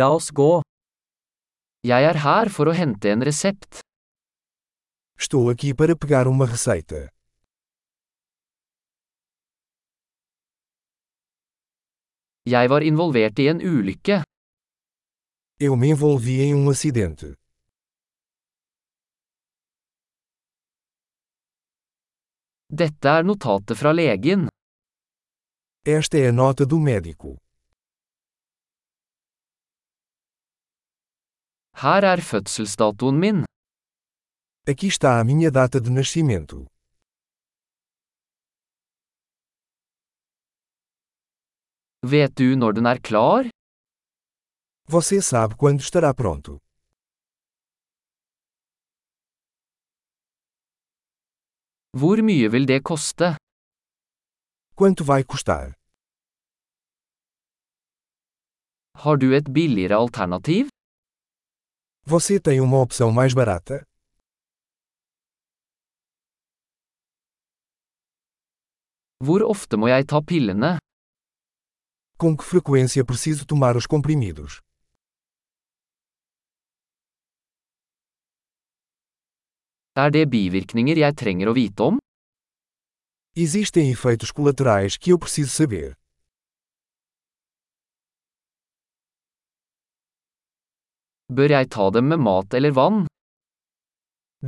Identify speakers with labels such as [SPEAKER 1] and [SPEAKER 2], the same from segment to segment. [SPEAKER 1] La oss gå. Jeg er her for å hente en resept.
[SPEAKER 2] Estou aqui para pegar uma receita.
[SPEAKER 1] Jeg var involvert i en ulykke.
[SPEAKER 2] Eu me envolvi em um acidente.
[SPEAKER 1] Dette er notatet fra legen.
[SPEAKER 2] Esta é a nota do médico.
[SPEAKER 1] Her er fødselsdatoen min.
[SPEAKER 2] Aqui está a minha data de nascimento.
[SPEAKER 1] Vet du når den er klar?
[SPEAKER 2] Você sabe quando estará pronto.
[SPEAKER 1] Hvor mye vil det koste?
[SPEAKER 2] Quanto vai custar?
[SPEAKER 1] Har du et billigere alternativ?
[SPEAKER 2] Você tem uma opção mais barata?
[SPEAKER 1] Hvor ofte må jeg ta pillene?
[SPEAKER 2] Com que frequência preciso tomar os comprimidos?
[SPEAKER 1] Er det bivirkninger jeg trenger å vite om?
[SPEAKER 2] Existem efeitos colaterais que eu preciso saber.
[SPEAKER 1] Bør jeg ta dem med mat eller vann?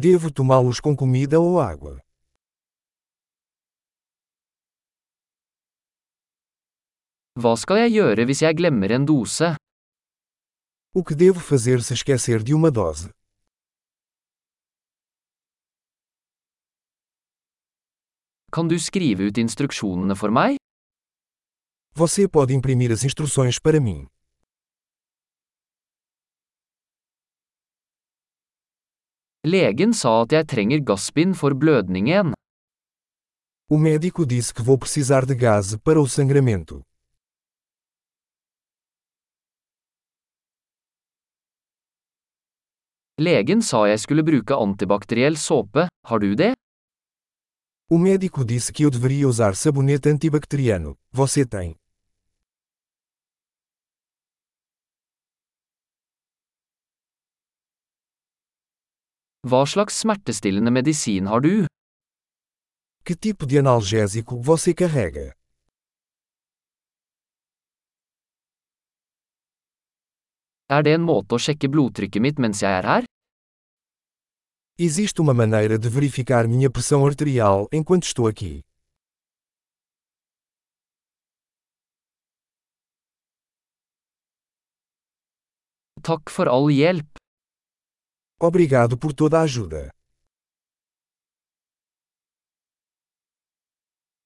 [SPEAKER 2] Devo tomá-los com comida ou água?
[SPEAKER 1] Hva skal jeg gjøre hvis jeg glemmer en dose?
[SPEAKER 2] O que devo fazer se esquecer de uma dose?
[SPEAKER 1] Kan du skrive ut instruksjonene for meg?
[SPEAKER 2] Você pode imprimir as instruções para mim.
[SPEAKER 1] Legen sa at jeg trenger gassbind for blødningen.
[SPEAKER 2] O médico disse que vou precisar de gás para o sangramento.
[SPEAKER 1] Legen sa jeg skulle bruke antibakteriell såpe, har du det?
[SPEAKER 2] O médico disse que eu deveria usar sabonete antibacteriano. Você tem?
[SPEAKER 1] Hva slags smertestillende medisin har du?
[SPEAKER 2] Que tipo de analgésico você carrega?
[SPEAKER 1] Er det en måte å sjekke blodtrykket mitt mens jeg er her?
[SPEAKER 2] Existe uma maneira de verificar minha pressão arterial enquanto estou aqui.
[SPEAKER 1] Takk for all hjelp.
[SPEAKER 2] Obrigado por toda a ajuda.